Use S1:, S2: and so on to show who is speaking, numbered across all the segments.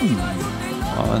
S1: Mm. Ja,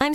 S2: I'm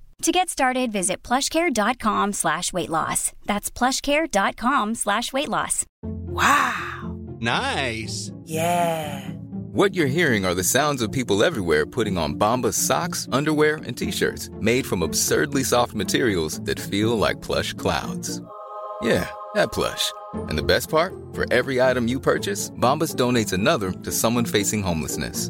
S3: To get started, visit plushcare.com slash weight loss. That's plushcare.com slash weight loss.
S4: Nice. Yeah. What you're hearing are the sounds of people everywhere putting on Bombas socks, underwear, and t-shirts made from absurdly soft materials that feel like plush clouds. Yeah, that plush. And the best part? For every item you purchase, Bombas donates another to someone facing homelessness.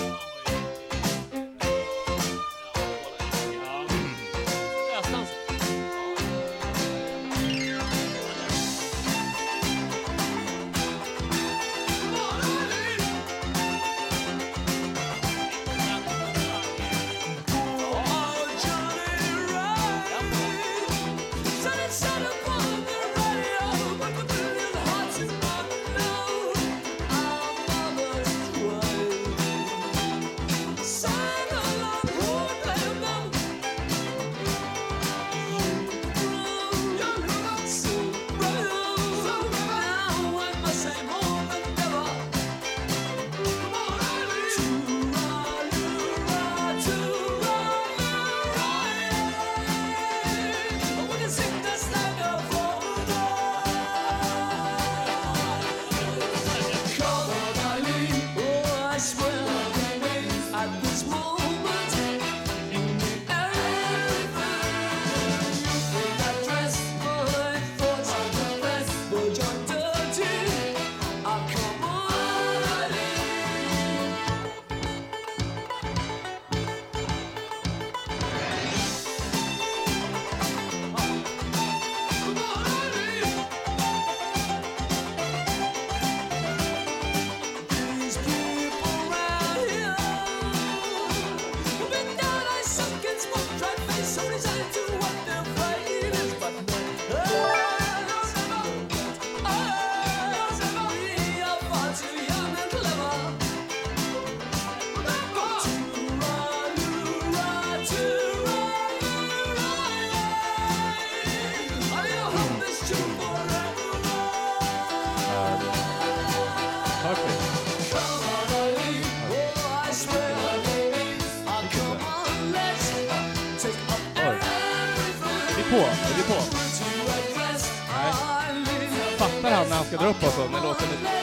S5: Sunny side up on the radio, but the million hearts is not known. I
S1: på?
S5: Är det på? Nej. Fattar han när han ska dra upp oss då, när låten är...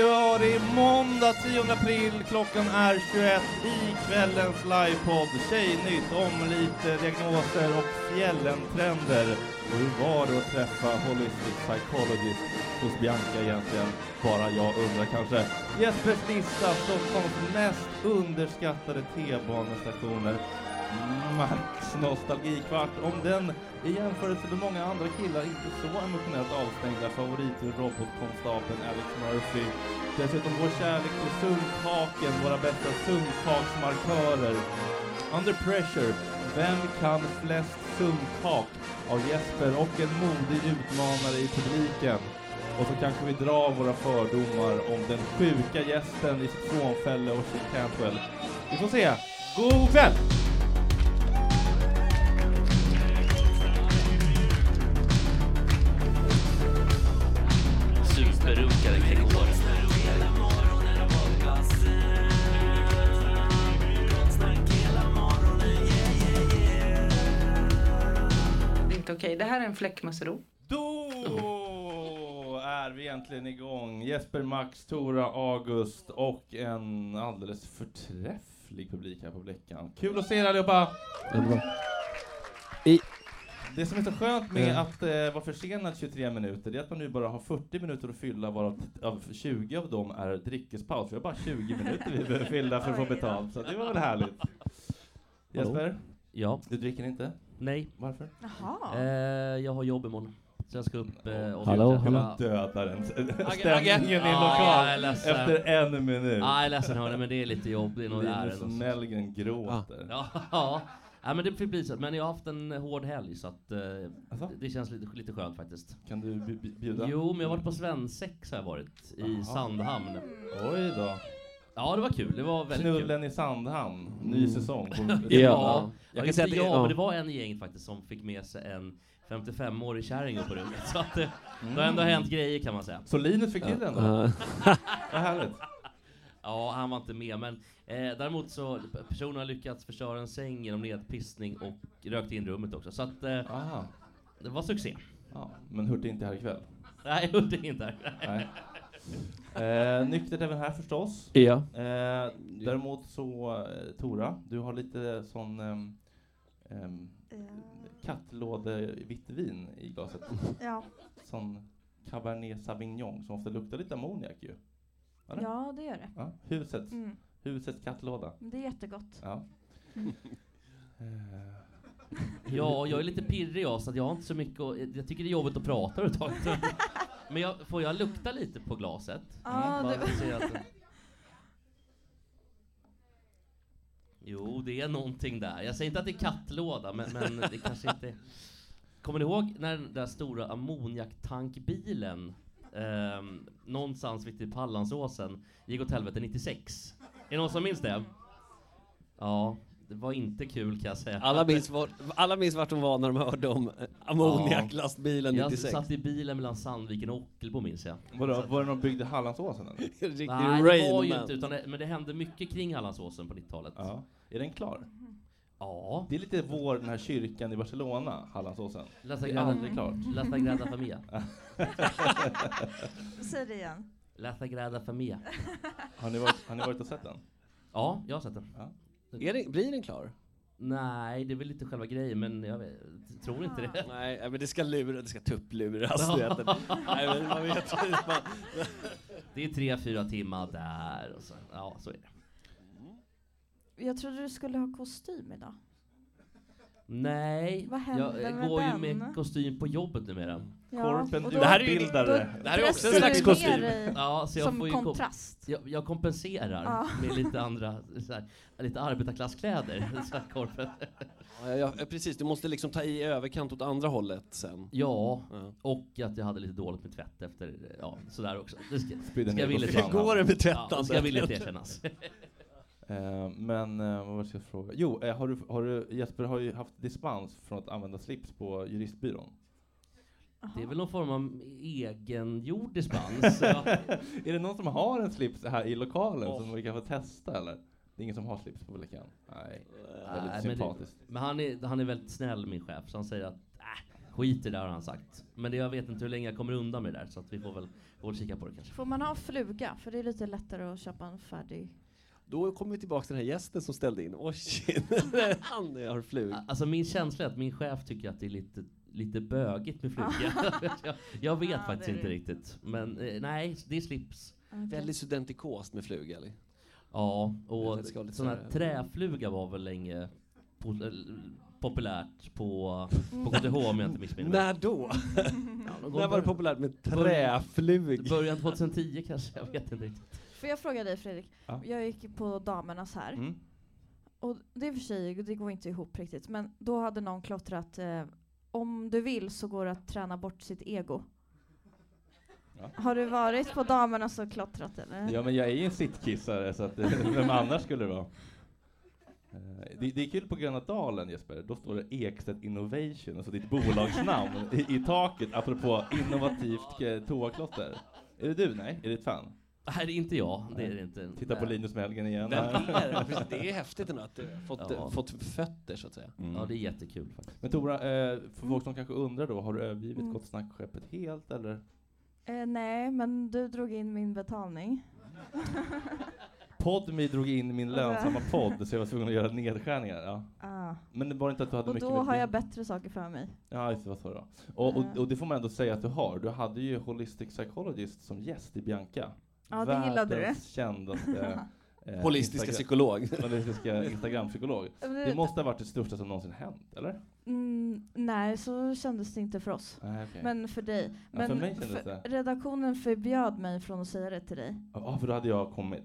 S5: Ja, det är måndag 10 april. Klockan är 21 i kvällens livepodd Tjejnytt om lite diagnoser och fjällentrender. Och hur var det att träffa Holistic Psychologist hos Bianca egentligen? Bara jag undrar kanske. Jespers lista, Stockholms mest underskattade T-banestationer. Max nostalgikvart om den i jämförelse med många andra killar inte så emotionellt avstängda favorit till robotkonstapeln Alex Murphy. Dessutom vår kärlek till sunkhaken, våra bästa sunkhaksmarkörer. Under pressure, vem kan flest sunkhak av Jesper och en modig utmanare i publiken? Och så kanske vi drar våra fördomar om den sjuka gästen i sitt frånfälle och sin Cantwell. Vi får se. God kväll!
S6: Superrunkare Gregor.
S7: Inte okej, det här är en fläckmussero.
S1: Då är vi äntligen igång. Jesper, Max, Tora, August och en alldeles förträfflig publik här på Bleckan. Kul att se er allihopa! Det som är så skönt med
S5: Mm.
S1: att eh, vara försenad 23 minuter det är att man nu bara har 40 minuter att fylla varav av 20 av dem är dryckespaus. Vi har bara 20 minuter vi behöver fylla för att få betalt, så det var väl härligt.
S8: Hallå?
S1: Jesper?
S8: Ja.
S1: Du dricker inte?
S8: Nej.
S1: Varför?
S8: Eh, jag har jobb imorgon. Så jag ska upp eh, och
S1: Hallå,
S8: fjuta.
S1: hallå. Du dödar en- stämningen i en lokal efter en minut.
S8: Ja, jag är ledsen hörni, men det är lite jobb. Det är något
S1: Linus
S8: ärende.
S1: Mellgren gråter.
S8: Ja, ja. ja men det får bli så. Men jag har haft en hård helg så att eh, det- det känns lite, lite skönt faktiskt.
S1: Alltså? Kan du bjuda?
S8: Jo, men jag har varit på svensex har jag varit. I
S1: Jaha.
S8: Sandhamn.
S1: Oj då.
S8: Ja, det var kul. Det var väldigt kul.
S1: Knullen i Sandhamn, ny säsong.
S8: ja,
S1: på-
S8: ja. Jag kan
S1: säga
S8: inte
S1: att det-
S8: jag,
S1: ja.
S8: men det var en i gänget faktiskt som fick med sig en 55-årig kärring upp på rummet. Så att det, det har ändå
S1: Mm.
S8: hänt grejer kan man säga.
S1: Så Linus fick till den då? Vad härligt.
S8: Ja, han var inte med, men eh, däremot så personen har lyckats förstöra en säng genom nedpissning och rökt in rummet också. Så att eh, det var succé.
S1: Men Hurtig är inte här ikväll.
S8: Nej, Hurtig är inte här.
S1: Nej. Eh, nyktert även här förstås.
S5: Ja.
S1: Eh, däremot så, eh, Tora, du har lite sån ehm, ehm,
S9: Eh.
S1: kattlådevitt vin i glaset.
S9: Ja.
S1: Sån Cabernet Sauvignon som ofta luktar lite ammoniak ju. Eller?
S9: Ja, det gör det.
S1: Ja, husets,
S9: Mm.
S1: husets kattlåda.
S9: Det är jättegott. Mm.
S1: Ja. Eh.
S8: Ja, jag är lite pirrig jag, så att jag har inte så mycket att, Jag tycker det är jobbigt att prata överhuvudtaget. Men jag, får jag lukta lite på glaset?
S9: Ja,
S8: Bara
S10: Mm,
S9: det-
S8: för att se att det- Jo, det är någonting där. Jag säger inte att det är kattlåda, men, men det kanske inte är... Kommer ni ihåg när den där stora ammoniaktankbilen ehm, någonstans vid typ Hallandsåsen gick åt helvete 96? Är det någon som minns det? Ja, Det var inte kul kan jag säga.
S10: Alla minns, var, alla minns vart de var när de hörde om eh, ammoniaklastbilen
S8: Jag
S10: 96.
S8: satt i bilen mellan Sandviken och Ockelbo minns jag.
S1: Vadå,
S8: Så-
S1: var det någon byggd i Hallandsåsen eller?
S10: Riktig
S8: Nej, det
S10: Rain
S8: var ju
S10: Man.
S8: inte, utan det, men det hände mycket kring Hallandsåsen på 90-talet.
S1: Ja. Är den klar?
S8: Mm-hmm. Ja.
S1: Det är lite vår, den här kyrkan i Barcelona, Hallandsåsen.
S8: La
S1: det är aldrig
S8: Sagrada-
S1: klart.
S8: La Sagrada Familia.
S9: Säg det igen.
S8: La Sagrada Familia.
S1: Har ni varit, har ni varit och sett den?
S8: Ja, jag har sett den.
S10: blir den klar?
S8: Nej, det är väl inte själva grejen, men jag vet, tror inte det.
S10: Nej, men det ska lura, det ska tuppluras. du vet. Nej, men man vet ju inte, man-
S8: Det är tre, fyra timmar där och så. Ja, så är det.
S9: Jag trodde du skulle ha kostym idag.
S8: Nej,
S9: Vad
S8: jag
S9: händer
S8: eh,
S9: med
S8: går ju
S9: den?
S8: med kostym på jobbet numera.
S9: Ja, Korpen och då-
S10: Det här är ju-
S9: då
S10: det här är också en
S9: dressar
S10: slags
S9: du ner
S10: kostym.
S9: dig
S8: Ja, så jag
S9: som
S8: får ju kom-
S9: kontrast.
S8: Jag, jag kompenserar
S9: Ja.
S8: med lite andra, så här, lite arbetarklasskläder. Så här, korpen.
S10: Ja, ja, ja, precis, du måste liksom ta i överkant åt andra hållet sen.
S8: Ja, och att jag hade lite dåligt med tvätt efter, eh, ja, sådär också. Det ska,
S1: Spydde
S8: ska jag
S1: ner på
S8: villigt
S1: skallen.
S8: erkänna.
S1: Hur går det med tvättandet?
S8: Ja, det ska jag villigt erkännas.
S1: Eh, men eh, vad var det jag skulle fråga? Jo, eh, har du, har du, Jesper har ju haft dispens från att använda slips på juristbyrån.
S8: Det är väl någon form av egengjord dispens. Ja.
S1: är det någon som har en slips här i lokalen som vi kan få testa eller? Det är ingen som har slips på Vulkan? Nej,
S8: Nej,
S1: väldigt
S8: men det-
S1: sympatiskt.
S8: Men, han, är, han är väldigt snäll min chef, så han säger att äh, skit i det där har han sagt. Men det, jag vet inte hur länge jag kommer undan med det där, så att vi får väl, får väl kika på det kanske.
S9: Får man ha en fluga? För det är lite lättare att köpa en färdig.
S10: Då kommer vi tillbaka till den här gästen som ställde in. Åh shit, han har flug.
S8: Alltså min känsla är att min chef tycker att det är lite, lite bögigt med fluga. jag, jag vet faktiskt
S10: det är
S8: inte
S10: det.
S8: riktigt. Men eh, nej, det är slips.
S10: Väldigt studentikost med flug, eller?
S8: Ja,
S10: Jag
S8: och
S10: tänkte ska ha lite
S8: sån
S10: så
S8: här
S10: här-
S8: träfluga var väl länge po eh, populärt på,
S10: Mm.
S8: på KTH om jag inte missminner mig.
S10: När då? När var det populärt med
S8: Början-
S10: träflug?
S8: Början 2010 kanske, jag vet inte riktigt.
S9: Får jag fråga dig Fredrik?
S8: Ja.
S9: Jag gick på damernas här.
S8: Mm.
S9: Och det är för sig, det går inte ihop riktigt. Men då hade någon klottrat eh, om du vill så går det att träna bort sitt ego. Har du varit på damernas och klottrat eller?
S1: Ja, men jag är ju en sittkissare, så att, vem annars skulle det vara? Eh, Det, det är kul på Gröna Dalen, Jesper. Då står det Ekstedt Innovation, alltså ditt bolagsnamn, i, i taket, apropå innovativt eh, toaklotter. Är det du? Nej? Är det ett fan?
S8: Nej, det är inte jag. Det är det inte.
S1: Titta på
S8: Nej.
S1: Linus Mellgren igen.
S10: Vem
S1: Nej.
S10: är det? Precis, det är häftigt ändå att du har fått,
S1: Ja.
S10: fått fötter, så att säga.
S1: Mm.
S8: Ja, det är jättekul faktiskt.
S1: Men Tora, eh, för folk som kanske undrar då, har du övergivit Gott snack-skeppet helt eller?
S9: Eh, nej, men du drog in min betalning.
S1: Podmi drog in min lönsamma podd så jag var tvungen att göra nedskärningar. Ja.
S9: Alltså. Ah.
S1: Men det var inte att du hade
S9: Och
S1: mycket
S9: då har
S1: med-
S9: jag Eh. bättre saker för mig.
S1: Ja, just det, vad sa du då? Och, och, och det får man ändå säga att du har. Du hade ju Holistic Psychologist som gäst i Bianca.
S9: Ja, det gillade du.
S1: Världens kändaste eh,
S10: Holistiska
S1: Instagram-
S10: psykolog.
S1: Holistiska Instagram-psykolog.
S9: Men det-
S1: Det måste ha varit det största som någonsin hänt, eller?
S9: Mm, nej, så kändes det inte för oss.
S1: Nej, Ah, okej.
S9: Men för dig.
S1: Ja,
S9: Men
S1: för mig kändes det.
S9: redaktionen förbjöd mig från att säga det till dig.
S1: Ja, för då hade jag kommit.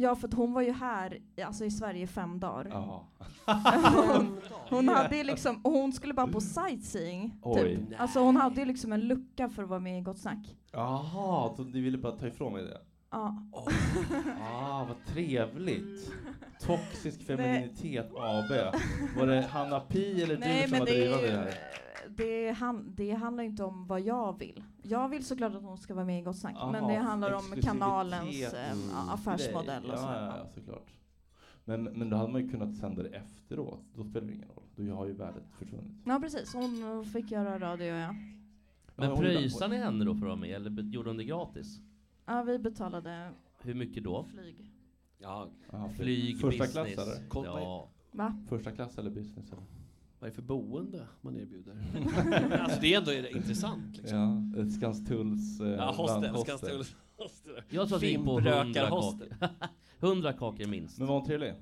S9: Ja, för att hon var ju här alltså, i Sverige i fem dagar.
S1: Ja.
S9: hon, hon hade ju liksom, och hon skulle bara på sightseeing.
S1: Oj.
S9: Typ. Alltså hon hade ju liksom en lucka för att vara med i Gott Snack.
S1: Jaha, så ni ville bara ta ifrån mig det?
S9: Ja. Mm.
S1: Ah, vad trevligt. Toxisk femininitet AB. Var det Hanna Pi eller
S9: Nej,
S1: du som
S9: men
S1: var
S9: det är
S1: drivande i
S9: ju-
S1: det här?
S9: Det, han, det handlar ju inte om vad jag vill. Jag vill såklart att hon ska vara med i Gott Snack,
S1: Aha,
S9: men det handlar om
S1: exklusivitet.
S9: kanalens eh,
S1: Mm.
S9: ja, affärsmodell
S1: Ja,
S9: och så.
S1: ja, ja, såklart. Men, men då hade man ju kunnat sända det efteråt. Då spelar det ingen roll. Då har ju värdet försvunnit.
S9: Ja, precis. Hon fick göra radio, ja.
S1: Ja,
S8: Men
S1: hon-
S8: pröjsade ni henne då för att vara med, eller be- gjorde hon det gratis?
S9: Ja, vi betalade
S8: Hur mycket då?
S9: flyg.
S10: Ja.
S1: Aha,
S8: Flyg,
S1: Första
S8: business.
S1: klass eller?
S8: Kom- Ja.
S9: Va?
S1: Första klass eller business? Eller?
S10: Vad är det för boende man erbjuder? alltså, det är ändå intressant. Liksom.
S1: Ja, ett Skanstulls... Eh,
S10: Ja, hostel,
S1: landhostel.
S10: Skanstulls hostel.
S8: Jag tror att vi gick på
S10: Fimbrökar
S8: 100
S10: hostel.
S8: kakor. 100 kakor minst.
S1: Men var hon trevlig?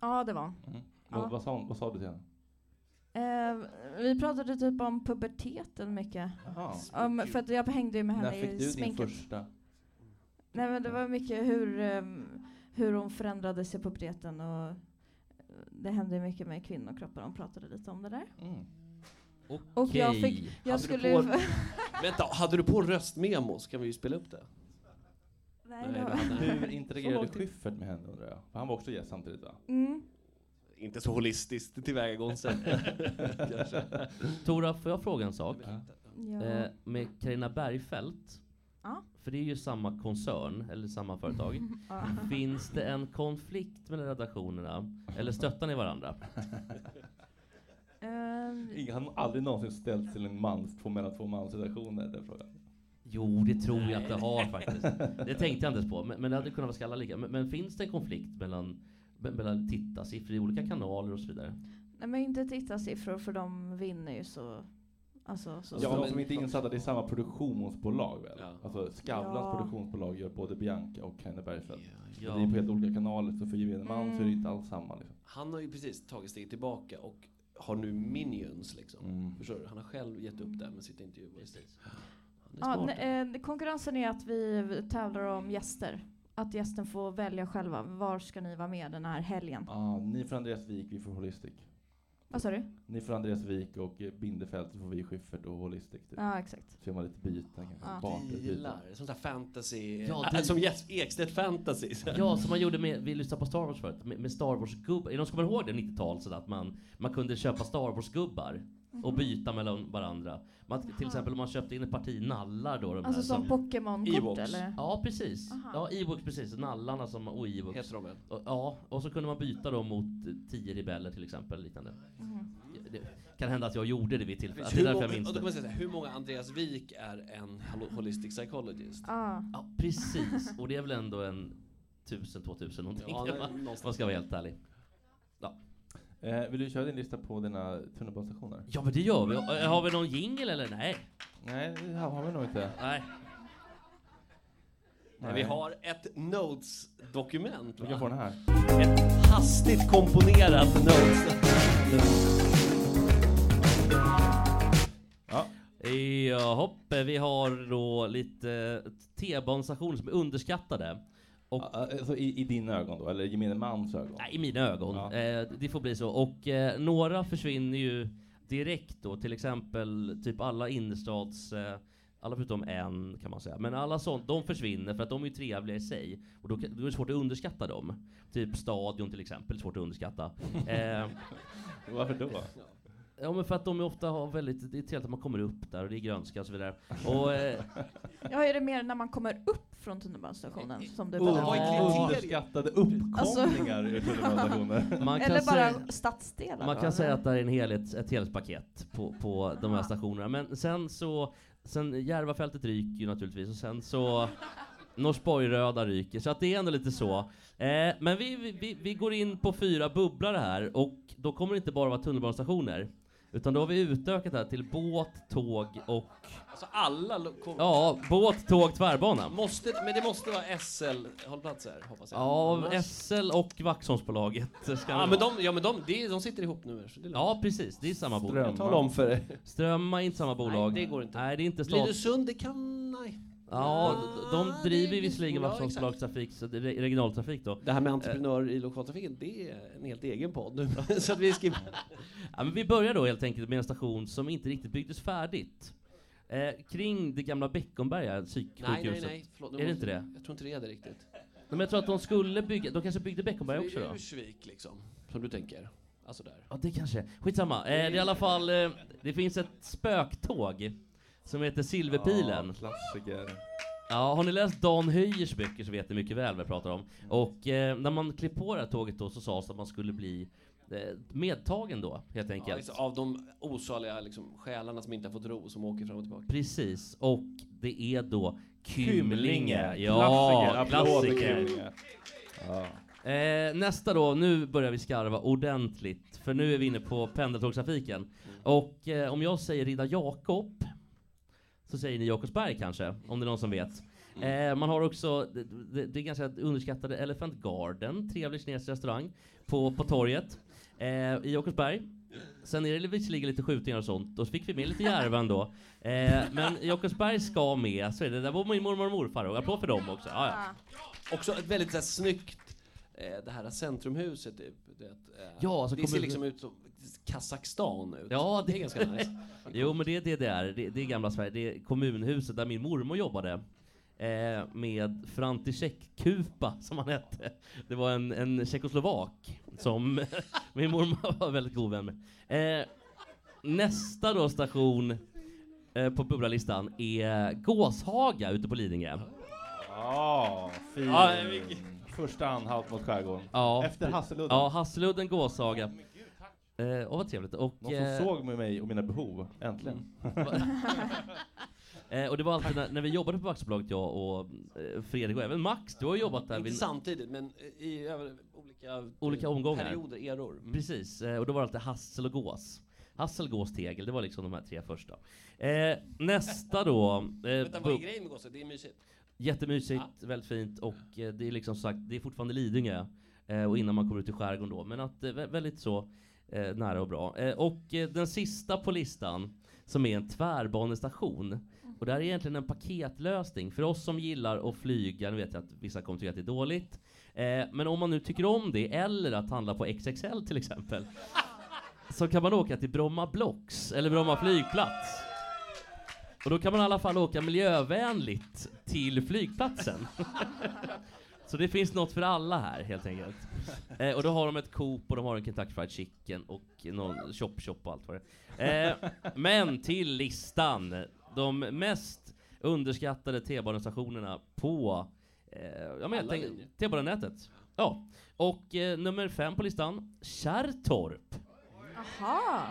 S9: Ja, det var hon.
S1: Vad, vad, sa hon, vad sa du till henne?
S9: Eh, vi pratade typ om puberteten mycket.
S1: Jaha.
S9: Om, för att jag hängde ju med
S1: När
S9: henne
S1: fick
S9: i
S1: du din
S9: sminket.
S1: första?
S9: Nej men det var mycket hur, ehm, hur hon förändrades i puberteten och eh, det hände mycket med kvinnokroppar. Hon pratade lite om det där.
S1: Mm.
S9: Och jag fick, jag
S10: Hade du
S9: skulle
S10: på- Vänta, hade du på en röstmemo så kan vi ju spela upp det.
S9: Nej,
S10: Nej,
S9: det
S10: det
S9: var-
S10: hade-
S1: Hur
S10: Så
S1: interagerade
S10: långt-
S1: Schyffert med henne undrar jag? För han var också gäst samtidigt va?
S9: Mm.
S10: inte så holistiskt tillvägagångssätt. kanske.
S8: Tora, får jag fråga en sak?
S9: Ja.
S8: Eh, med Carina Bergfeldt,
S9: Ja.
S8: för det är ju samma koncern, eller samma företag.
S9: Ja.
S8: Finns det en konflikt mellan redaktionerna? Eller stöttar ni varandra?
S9: Ehm,
S5: Ingen- Han har aldrig någonsin ställt till en mans, två mellan två mansredaktioner, den frågan.
S8: Jo, det tror jag att det har faktiskt. Det tänkte jag inte ens på, men, men det hade kunnat vara skallar lika. Men, men finns det en konflikt mellan, me- mellan tittarsiffror i olika kanaler och så vidare?
S9: nej men inte tittarsiffror för de vinner ju så... Alltså, så
S5: Alltså, de
S9: men-
S5: som inte är insatta, det är samma produktionsbolag väl? Alltså Skavlans
S9: Ja.
S5: produktionsbolag gör både Bianca och Carina Bergfeldt.
S10: ja.
S5: Och Det är på helt olika kanaler, så för gemene man
S9: Mm.
S5: så är det inte alls samma. Liksom.
S10: Han har ju precis tagit steg tillbaka och har nu minions liksom.
S8: Mm.
S10: Förstår du? Han har själv gett upp det här med sitt intervjuer. Han är
S9: Ja,
S10: smart.
S9: ne- eh, konkurrensen är att vi tävlar om gäster. Att gästen får välja själva. Var ska ni vara med den här helgen?
S5: Ah, ni får Andreas Wik, vi får Holistic.
S9: Vad sa du?
S5: Ni får Andreas Wik och eh, Bindefeld så får vi Schyffert och Holistic. Typ.
S9: Ja, exakt.
S5: Så gör man lite byten kanske.
S9: Ja.
S5: Parter, byten.
S10: Dealar, sånt där fantasy.
S8: Ja,
S10: Ja,
S8: det-
S10: Som Jes- Ekstedt fantasy.
S8: Ja, som man gjorde med, vi lyssnade på Star Wars förut, med, med Star Wars-gubbar. Är det någon som kommer ihåg det 90-tal sådär att man, man kunde köpa Star Wars-gubbar
S9: Mm-hmm.
S8: och byta mellan varandra? Man, till exempel om man köpte in ett parti nallar då. De
S9: Alltså
S8: här,
S9: som Pokémon-kort
S8: Ewoks.
S9: eller?
S8: Ja, precis.
S9: Aha.
S8: Ja, Ewoks precis. Nallarna som, och Ewoks. Heter de Ja, och så kunde man byta dem mot eh, tio rebeller till exempel. Liknande.
S9: Mhm.
S8: Det kan hända att jag gjorde det vid tillfället. Det är
S10: Hur
S8: därför
S10: många,
S8: jag minns
S10: och då kan man säga så
S8: det.
S10: här, hur många Andreas Wik är en hol- holistic psychologist?
S9: Ah.
S8: Ja, precis. Och det är väl ändå en 1000, 2000 någonting.
S10: Ja, det är
S8: om man- om man
S10: någonstans.
S8: ska vara helt ärlig.
S5: Eh, vill du köra din lista på dina tunnelbanestationer?
S8: Ja, men det gör vi. Eh, Har vi någon jingel eller? Nej.
S5: Nej, det här har vi nog inte.
S8: Nej.
S10: Nej. Vi har ett notes-dokument.
S5: Vi kan få den här.
S10: Ett hastigt komponerat notes.
S5: Ja.
S8: Jahopp, eh, vi har då lite eh, T-banestationer som är underskattade. Och
S5: Alltså, i, I dina ögon då, eller gemene mans ögon?
S8: Nej, I mina ögon. Eh, det får bli så. Och eh, några försvinner ju direkt då, till exempel typ alla innerstads... Eh, alla förutom en kan man säga. Men alla sånt, de försvinner för att de är ju trevliga i sig. Och då, kan- då är det svårt att underskatta dem. Typ stadion till exempel, svårt att underskatta. Eh,
S5: Varför då?
S8: ja men för att de ju ofta har väldigt, det är trevligt att man kommer upp där och det är grönska och så vidare. Och, eh,
S9: Ja, är det mer när man kommer upp från tunnelbanestationen som du
S5: Oh,
S9: pratar om?
S5: underskattade uppkomlingar i tunnelbanestationer.
S8: Man
S9: Alltså- Eller
S8: kan
S9: bara
S8: säga-
S9: stadsdelar?
S8: Man
S9: då,
S8: kan säga
S9: eller?
S8: att det här är en helhet, ett helhetspaket på, på de här stationerna. Men sen så, sen Järvafältet ryker ju naturligtvis och sen så Norsborg-röda ryker, så att det är ändå lite så. Eh, men vi, vi- vi, vi går in på fyra bubblare här och då kommer det inte bara vara tunnelbanestationer. Utan då har vi utökat det här till båt, tåg och...
S10: Alltså alla lo- kom-
S8: Ja, båt, tåg, tvärbana.
S10: måste, Men det måste vara SL-hållplatser, hoppas jag.
S8: Ja,
S10: Annars-
S8: SL och Vaxholmsbolaget. ska
S10: ja,
S8: det
S10: men
S8: vara.
S10: de, ja, men de, de, de sitter ihop nu. Så det är lugnt.
S8: Ja, precis. Det är samma bolag.
S10: Jag talar om för dig.
S8: Strömma är inte samma bolag.
S10: det går inte.
S8: Nej, det är inte stat.
S10: Lidösund, det kan... Nej.
S8: Ja, d- de driver
S10: det-
S8: ju visserligen
S10: ja,
S8: Vaxholmsbolagstrafik, så det är re- regionaltrafik då. Eh.
S10: Det här med entreprenörer i lokaltrafiken, det är en helt egen podd. så att vi skriver...
S8: Ja, men vi börjar då helt enkelt med en station som inte riktigt byggdes färdigt. Eh, kring det gamla Beckomberga
S10: Nej, nej,
S8: psyksjukhuset.
S10: nej. Förlåt, nu
S8: är det
S10: måste-
S8: inte det?
S10: Jag tror inte det är det riktigt.
S8: Nej, men jag tror att de skulle bygga, de kanske byggde
S10: Det
S8: Beckomberga också
S10: är
S8: då?
S10: Ursvik, liksom, som du tänker. Alltså där.
S8: Ja, det kanske. Skitsamma. Eh, det är i alla fall, eh, det finns ett spöktåg som heter Silverpilen.
S5: Ja, klassiker.
S8: Ja, har ni läst Dan Höjers böcker så vet ni mycket väl vad jag pratar om. Och eh, när man klev på det här tåget då så sades att man skulle bli eh, medtagen då, helt enkelt.
S10: Ja, liksom, av de osaliga liksom, själarna som inte har fått ro, som åker fram och tillbaka.
S8: Precis, och det är då Kymlinge.
S10: Kymlinge.
S8: Ja,
S10: Klassiker. Applåder,
S8: klassiker.
S10: Kymlinge.
S8: Eh, nästa då, nu börjar vi skarva ordentligt, för nu är vi inne på pendeltågstrafiken. Och eh, om jag säger Riddar Jakob, så säger ni Jakobsberg kanske, om det är någon som vet. Eh, man har också det, det, det ganska underskattade Elephant Garden, trevlig kinesisk restaurang, på, på torget eh, i Jakobsberg. Sen är det visserligen lite skjutningar och sånt, och så fick vi med lite Järva ändå. Eh, men Jakobsberg ska med, så är det. Där bor min mormor och morfar, och applåd för dem också. Ja, ja.
S10: Också ett väldigt så här, snyggt, eh, det här centrumhuset. Typ, det, eh,
S8: Ja, alltså
S10: det
S8: kommer-
S10: ser liksom ut som Kazakstan ut.
S8: Ja, det,
S10: är ganska nice.
S8: Jo, men det är DDR. Det, det är gamla Sverige. Det är kommunhuset där min mormor jobbade. eh, med František Kupa, som han hette. Det var en, en tjeckoslovak som min mormor var väldigt god vän med. Eh, nästa då station eh, på bubblarlistan är Gåshaga ute på Lidingö.
S1: Ja, fin.
S8: Ja,
S1: Första anhalt mot skärgården.
S8: Ja.
S1: Efter Hasseludden.
S8: Ja, Hasseludden, Gåshaga. Eh, och vad trevligt. Och, Mm.
S1: Någon som såg med mig och mina behov, äntligen.
S8: Eh, och det var alltid när, när vi jobbade på Aktiebolaget, jag och eh, Fredrik och även Max, du har jobbat där.
S10: Inte
S8: vid-
S10: samtidigt, men eh, i över, olika, eh,
S8: olika omgångar.
S10: perioder, eror. Mm.
S8: Precis, eh, och då var det alltid hassel och gås. Hassel, gås, tegel, det var liksom de här tre första. Eh, nästa då. Eh,
S10: Vänta, vad är
S8: bu-
S10: grejen med gosse? Det är mysigt.
S8: Jättemysigt, väldigt fint och eh, det är liksom sagt, det är fortfarande Lidingö eh, och innan man kommer ut i skärgården då, men att eh, vä- väldigt så eh, nära och bra. Eh, och eh, den sista på listan som är en tvärbanestation och det här är egentligen en paketlösning för oss som gillar att flyga. Nu vet jag att vissa kommer tycka att det är dåligt, eh, men om man nu tycker om det eller att handla på XXL till exempel så kan man åka till Bromma Blocks eller Bromma flygplats. Och då kan man i alla fall åka miljövänligt till flygplatsen. Så det finns något för alla här helt enkelt. Eh, och då har de ett Coop och de har en Kentucky Fried Chicken och någon Chop Chop och allt vad det är. eh, Men till listan. De mest underskattade T-banestationerna på eh, ja, men jag
S10: Alla
S8: tänk-
S10: linjer.
S8: T-banenätet. Ja. Och eh, nummer fem på listan, Kärrtorp.
S9: Aha.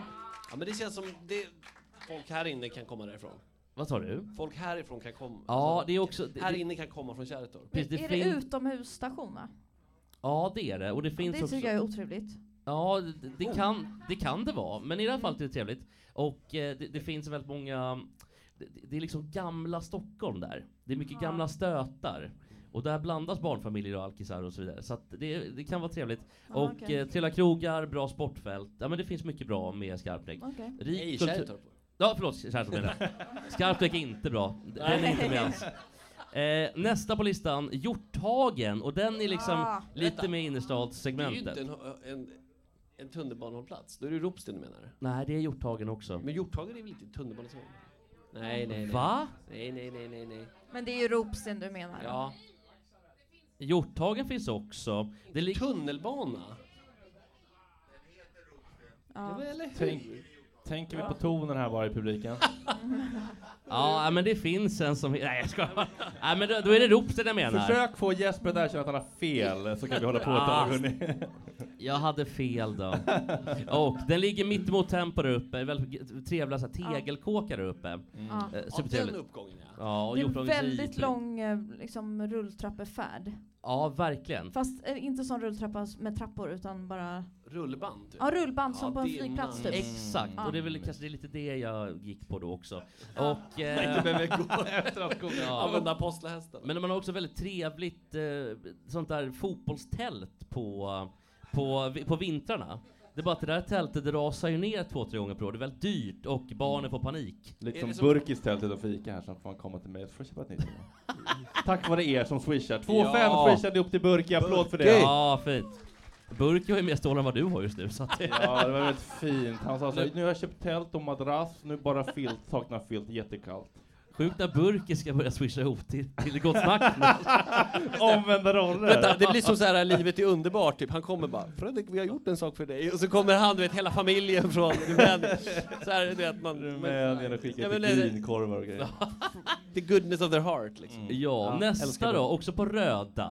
S10: Ja, men det känns som det, folk här inne kan komma därifrån.
S8: Vad sa du?
S10: Folk härifrån kan komma. Alltså,
S8: Ja, det är också- det-
S10: här
S8: det-
S10: inne kan komma från Kärrtorp.
S8: Precis,
S9: är det
S8: fin-
S9: utomhusstation? Va?
S8: Ja, det är det. Och det finns
S9: Det
S8: också...
S9: tycker jag är otrevligt.
S8: Ja, det, det, kan, det kan det vara, men i det här fallet är det trevligt. Och eh, det, det finns väldigt många... Det, det är liksom gamla Stockholm där. Det är mycket gamla stötar. Och där blandas barnfamiljer och alkisar och så vidare. Så att det, det kan vara trevligt.
S10: Ja,
S8: och
S10: okej.
S8: eh, trevliga krogar, bra sportfält. Ja men det finns mycket bra med Skarpnäck.
S10: Okej.
S8: Rik
S10: Nej,
S8: kultur-
S10: Kärrtorp.
S8: Ja förlåt, Kärrtorp menar jag. Skarpnäck är inte bra. Den är inte med alls. Eh, nästa på listan, Hjorthagen. Och den är liksom
S10: Ah.
S8: lite mer
S10: Det är ju
S8: innerstadssegmentet.
S10: inte en, eh, en, en tunnelbanehållplats. Då är det Ropsten du menar.
S8: Nej, det är Hjorthagen också.
S10: Men Hjorthagen är väl inte en tunnelbanestation? Nej, nej, nej.
S8: Va?
S10: Nej, nej, nej, nej, nej.
S9: Men det är ju Ropsten du menar.
S10: Ja.
S8: Hjorthagen finns också. Det lig-
S10: Tunnelbana?
S9: Ja.
S1: Tänk, tänker vi på tonen här bara i publiken?
S8: Ja, men det finns en som... Nej, jag skojar bara. Nej, men då, då är det Ropsten jag menar.
S1: Försök få Jesper att erkänna att han har fel, så kan vi hålla på ett
S8: Ah.
S1: tag. hörni.
S8: Jag hade fel då. Och den ligger mitt emot Tempo där uppe. Väldigt trevliga så här, tegelkåkar där uppe.
S9: Ja.
S8: Eh,
S10: Mm. Ja,
S8: supertrevligt.
S10: den uppgången, ja.
S8: Ja, och
S9: det är en
S8: Hjorthagens
S9: väldigt
S8: isbit.
S9: lång eh, liksom, rulltrappefärd.
S8: Ja, verkligen.
S9: Fast eh, inte sån rulltrappa s- med trappor utan bara...
S10: Rullband? typ.
S9: Ja, rullband som
S10: Ja,
S9: på en
S10: det är
S9: flygplats
S10: nice.
S1: Mm.
S9: typ.
S8: Exakt,
S9: Ja.
S8: och det är väl kanske det är lite det jag gick på då också. Och... eh,
S10: Nej, du behöver gå efter att gå
S8: Ja.
S10: använda apostlahästen.
S8: Men man har också väldigt trevligt eh, sånt där fotbollstält på, på, på vintrarna. Det är bara att det där tältet det rasar ju ner två, tre gånger per år. Det är väldigt dyrt och barnen får panik.
S1: Lite som Burkis tält utan fika här, så får man komma till mig och får köpa ett nytt. Tack vare er som swishar. 2,5
S8: Ja.
S1: swishade upp till Burki, applåd för det.
S8: Ja, fint. Burke har ju mer stålar än vad du har just nu. Så att det...
S1: Ja, det var väldigt fint. Han sa så här, nu har jag köpt tält och madrass, nu bara filt, saknar filt, jättekallt.
S8: Sjukt när Burke ska börja swisha ihop till, till Gott Snack.
S1: Omvända roller.
S10: Vänta, det blir som så här, livet är underbart, typ. Han kommer bara, Fredrik, vi har gjort en sak för dig. Och så kommer han, du vet, hela familjen från Rumänien. Så här, du vet, man...
S1: Rumänien och
S10: Ja,
S1: skickar
S10: men
S1: till
S10: det-
S1: grynkorvar och grejer.
S10: The goodness of their heart, liksom.
S8: Mm.
S1: Mm.
S8: Ja, nästa
S10: älskar
S8: då, också på röda.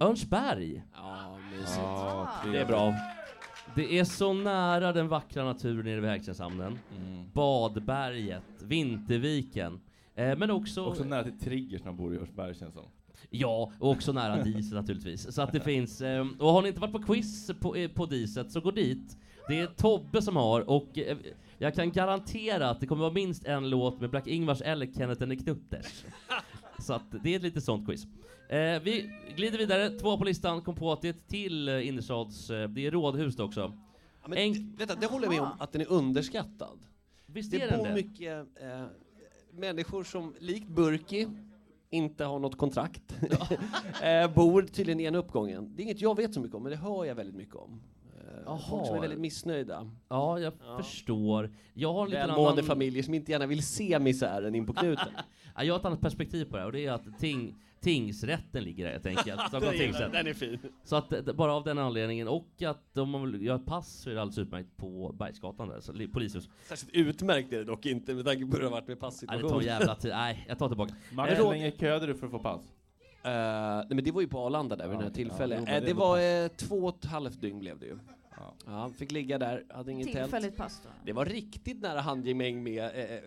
S8: Örnsberg.
S10: Ja,
S8: mysigt. det är bra. Det är så nära den vackra naturen nere vid Högtjärnshamnen.
S1: Mm.
S8: Badberget, Vinterviken. Eh, men också...
S1: Också nära till Triggers när man bor i Örsberg känns det som.
S8: Ja, och också nära Diset naturligtvis. Så att det finns... Eh, och har ni inte varit på quiz på, eh, på Diset så gå dit. Det är Tobbe som har och eh, jag kan garantera att det kommer vara minst en låt med Black-Ingvars eller Kenneth and the Knutters. Så att det är lite sånt quiz. Eh, vi glider vidare, två på listan, kom på det, till eh, innerstads... Eh, det är rådhus då också.
S10: Ja, men det, vänta, det håller jag med om, att den är underskattad.
S8: Visst
S10: det
S8: är den
S10: bor
S8: det?
S10: mycket eh, människor som likt Burki inte har något kontrakt. eh, bor tydligen i en uppgången. Det är inget jag vet så mycket om, men det hör jag väldigt mycket om. Eh, folk som är
S8: Jaha.
S10: väldigt missnöjda.
S8: Ja, jag förstår. Jag har en liten
S10: Välmående
S8: annan...
S10: familjer som inte gärna vill se misären in på knuten.
S8: ja, jag har ett annat perspektiv på det här och det är att ting, tingsrätten ligger där helt enkelt. Stockholms
S10: Den gillar-
S8: tingsrätt.
S10: den är fin.
S8: Så att, eh, bara av den anledningen och att om man vill göra ett pass så är det alldeles utmärkt på Bergsgatan där, så, li- polishus.
S10: Särskilt utmärkt är det dock inte med tanke på hur det har varit med
S8: Nej,
S10: passituationen.
S8: det tar en jävla tid. Nej, jag tar tillbaka.
S10: Max, hur länge
S8: köade du för att få pass?
S10: Eh, nej men det var ju på Arlanda där vid det här tillfället.
S8: jo, men
S10: Eh,
S8: det
S10: det
S8: var
S10: var eh, två och ett halvt dygn blev det ju. Ja. fick ligga där, hade inget tält.
S9: Tillfälligt pass då.
S10: Det var riktigt nära handgemäng med eh, eh,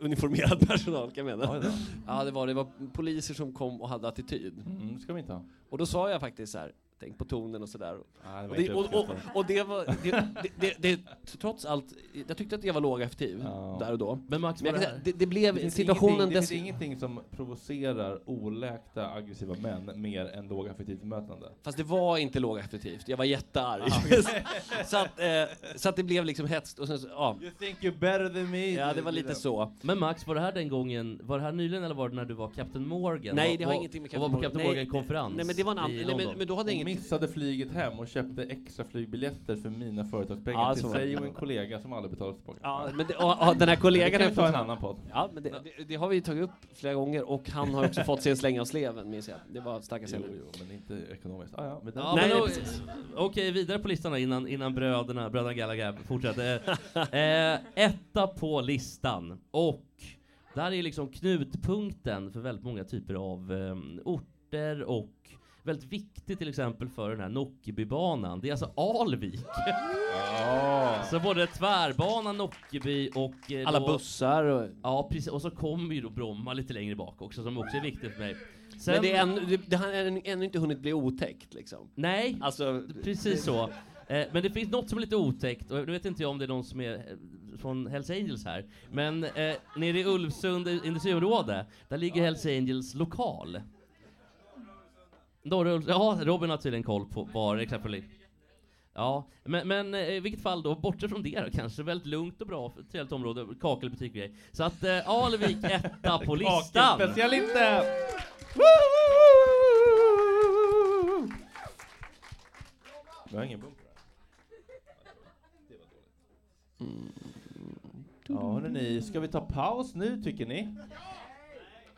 S10: uniformerad personal kan jag mena. Ja, det var, det var poliser som kom och hade attityd.
S1: Mm, det ska vi inte ha.
S10: Och då sa jag faktiskt så här, tänk på tonen och sådär.
S1: det var
S10: Och, det-
S1: inte
S10: och, och,
S1: uppskattat.
S10: och det var, det, det, det, det, trots allt, jag tyckte att jag var lågaffektiv där och då.
S8: Men Max,
S1: var
S10: jag kan
S1: det
S10: säga,
S1: här-
S10: det, det blev
S1: finns
S10: situationen
S1: ingenting, Det
S10: dess...
S1: finns ingenting som provocerar oläkta aggressiva män mer än lågaffektivt bemötande.
S10: Fast det var inte lågaffektivt, jag var jättearg. så, att, eh, så att det blev liksom hetskt och sen så, ja.
S1: You think you're better than me?
S10: Ja, det var lite så.
S8: Men Max, var det här den gången, var det här nyligen eller var det när du var Captain Morgan?
S10: Nej,
S8: Var-
S10: det har
S8: var-
S10: ingenting med
S8: och var på Captain
S10: Nej,
S8: Morgan-konferens
S10: nej, men det var en annan-
S8: i
S10: nej, men-
S8: London.
S10: men då hade
S1: Hon
S10: jag inget-
S1: missade flyget hem och köpte extra flygbiljetter för mina företagspengar
S10: Ja, så
S1: till
S10: var det.
S1: sig och en kollega som aldrig betalade tillbaka.
S10: Ja, men det, och, och, den här kollegan
S1: Det kan vi ta
S10: har
S1: en
S10: fått-
S1: annan podd.
S10: Ja, men det, det, det har vi ju tagit upp flera gånger och han har också fått sig en släng av sleven minns jag. Det var stackars
S1: Jo,
S10: Henrik.
S1: jo, men inte ekonomiskt. Ah, ja, men den-
S8: Ja, men o- Okej, vidare på listan här innan, innan bröderna, bröderna Gallagher fortsätter. eh, etta på listan. Och där är liksom knutpunkten för väldigt många typer av eh, orter och väldigt viktig till exempel för den här Nockebybanan. Det är alltså Alvik. Så både tvärbanan, Nockeby och... eh,
S10: Alla
S8: då-
S10: bussar och...
S8: Ja, precis. Och så kommer ju då Bromma lite längre bak också, som också är viktigt för mig.
S10: Men det är ännu, det, det har ännu- ännu inte hunnit bli otäckt liksom.
S8: Nej,
S10: Alltså,
S8: precis så. Eh, men det finns något som är lite otäckt, och nu vet inte jag om det är någon som är eh, från Hells Angels här, men eh, nere i Ulvsund industriområde, där ligger Hells Angels lokal. Norra Ulvs- ja, Robin har tydligen koll på var exakt det ligger. Ja, men, men eh, i vilket fall då, bortsett från det då kanske, väldigt lugnt och bra, för- trevligt område, kakelbutik och grejer. Så att eh, Alvik etta på listan!
S1: Kakelspecialisten! Vi har ingen bumper.
S10: Mm.
S1: Ja, hörrni, ska vi ta paus nu tycker ni?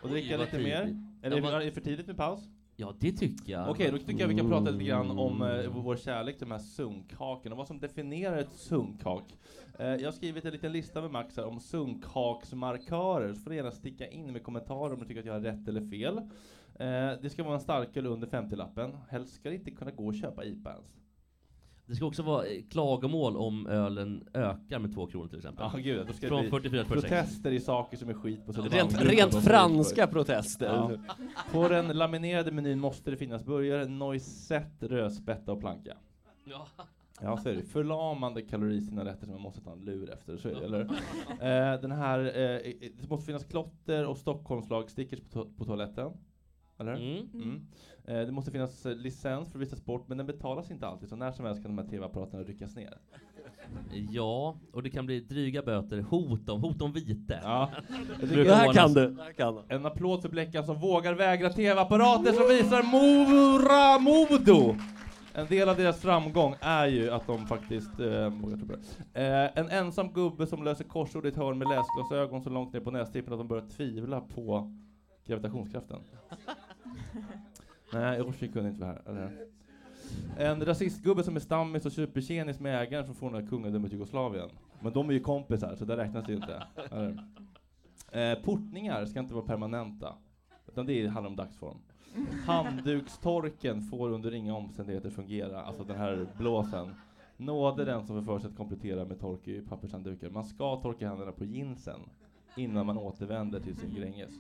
S1: Och dricka
S8: Oj, vad
S1: lite
S8: tidigt.
S1: mer? Eller
S8: Ja, vad-
S1: är det för tidigt med paus?
S8: Ja, det tycker jag. Mm.
S1: Okej, då tycker jag vi kan prata lite grann om eh, vår kärlek till de här sunkhaken och vad som definierar ett sunkhak. Eh, jag har skrivit en liten lista med Max här om sunkhaksmarkörer, så får du gärna sticka in med kommentarer om du tycker att jag har rätt eller fel. Eh, det ska vara en starköl under 50-lappen. Helst ska det inte kunna gå och köpa IPA ens.
S8: Det ska också vara eh, klagomål om ölen ökar med två kronor till exempel.
S1: Ja, gud, då ska
S8: Från
S1: det
S8: 44
S1: bli
S8: till 46.
S1: protester i saker som är skit på Södermalm.
S10: rent-
S1: Gruppen
S10: rent
S1: på
S10: franska
S1: Södermalm.
S10: protester.
S1: Ja. På den laminerade menyn måste det finnas burgare, noisette, rödspätta och planka.
S8: Ja.
S1: Ja, så är det. Förlamande kalori i sina rätter som man måste ta en lur efter, så är det, eller eh, Den här, eh, det måste finnas klotter och Stockholmslag stickers på, to- på toaletten. eller?
S8: Mm.
S1: Mm. Eh, det måste finnas eh, licens för att visa sport, men den betalas inte alltid, så när som helst kan de här TV-apparaterna ryckas ner.
S8: Ja, och det kan bli dryga böter, hot om, hot om vite.
S1: Ja.
S8: Det här kan du.
S1: En applåd för Bleckan som vågar vägra TV-apparater som visar Mora Modo. En del av deras framgång är ju att de faktiskt... Eh, vågar tro på det. eh, en ensam gubbe som löser korsord i ett hörn med läsglasögon så långt ner på nästippen att de börjar tvivla på gravitationskraften. Nej, Yoshi kunde inte vara här. Eller? En rasistgubbe som är stammis och supertjenis med ägaren från forna kungadömet Jugoslavien. Men de är ju kompisar, så det räknas ju inte. Eller? Eh, portningar ska inte vara permanenta, utan det handlar om dagsform. Handdukstorken får under inga omständigheter fungera, alltså den här blåsen. Nåde den som får för sig att komplettera med tork i pappershanddukar. Man ska torka händerna på jeansen innan man återvänder till sin gränges.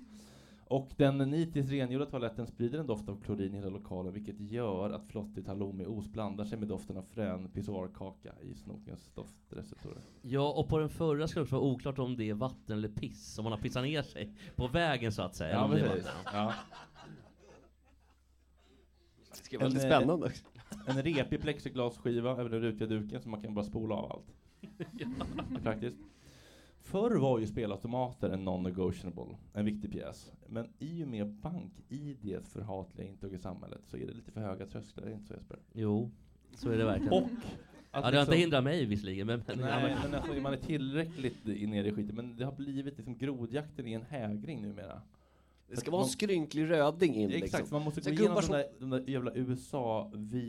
S1: Och den nitiskt rengjorda toaletten sprider en doft av klorin i hela lokalen vilket gör att flottigt halloumiost blandar sig med doften av frän pissoarkaka i snokens doftreceptorer.
S8: Ja, och på den förra skulle det också vara oklart om det är vatten eller piss, om man har pissat ner sig på vägen så att säga. eller
S1: Ja,
S8: om det är
S1: precis.
S8: vatten.
S1: Ja.
S10: Det ska vara lite spännande också.
S1: eh, En repig plexiglasskiva över den rutiga duken så man kan bara spola av allt. Det är praktiskt. Förr var ju spelautomater en non-negotiable, en viktig pjäs. Men i och med bank-IDs förhatliga intåg i samhället så är det lite för höga trösklar, är det inte så Jesper?
S8: Jo, så är det verkligen.
S1: Och liksom-
S8: ja, det har inte hindrat mig visserligen, men... men-
S1: Nej, men alltså, man är tillräckligt i- nere i skiten. Men det har blivit liksom grodjakten i en hägring numera.
S10: Det
S1: Så
S10: ska
S1: att
S10: vara
S1: man-
S10: en skrynklig röding in
S1: Exakt,
S10: liksom.
S1: man måste
S10: Så
S1: gå igenom
S10: gubbar
S1: de
S10: som-
S1: där, de där jävla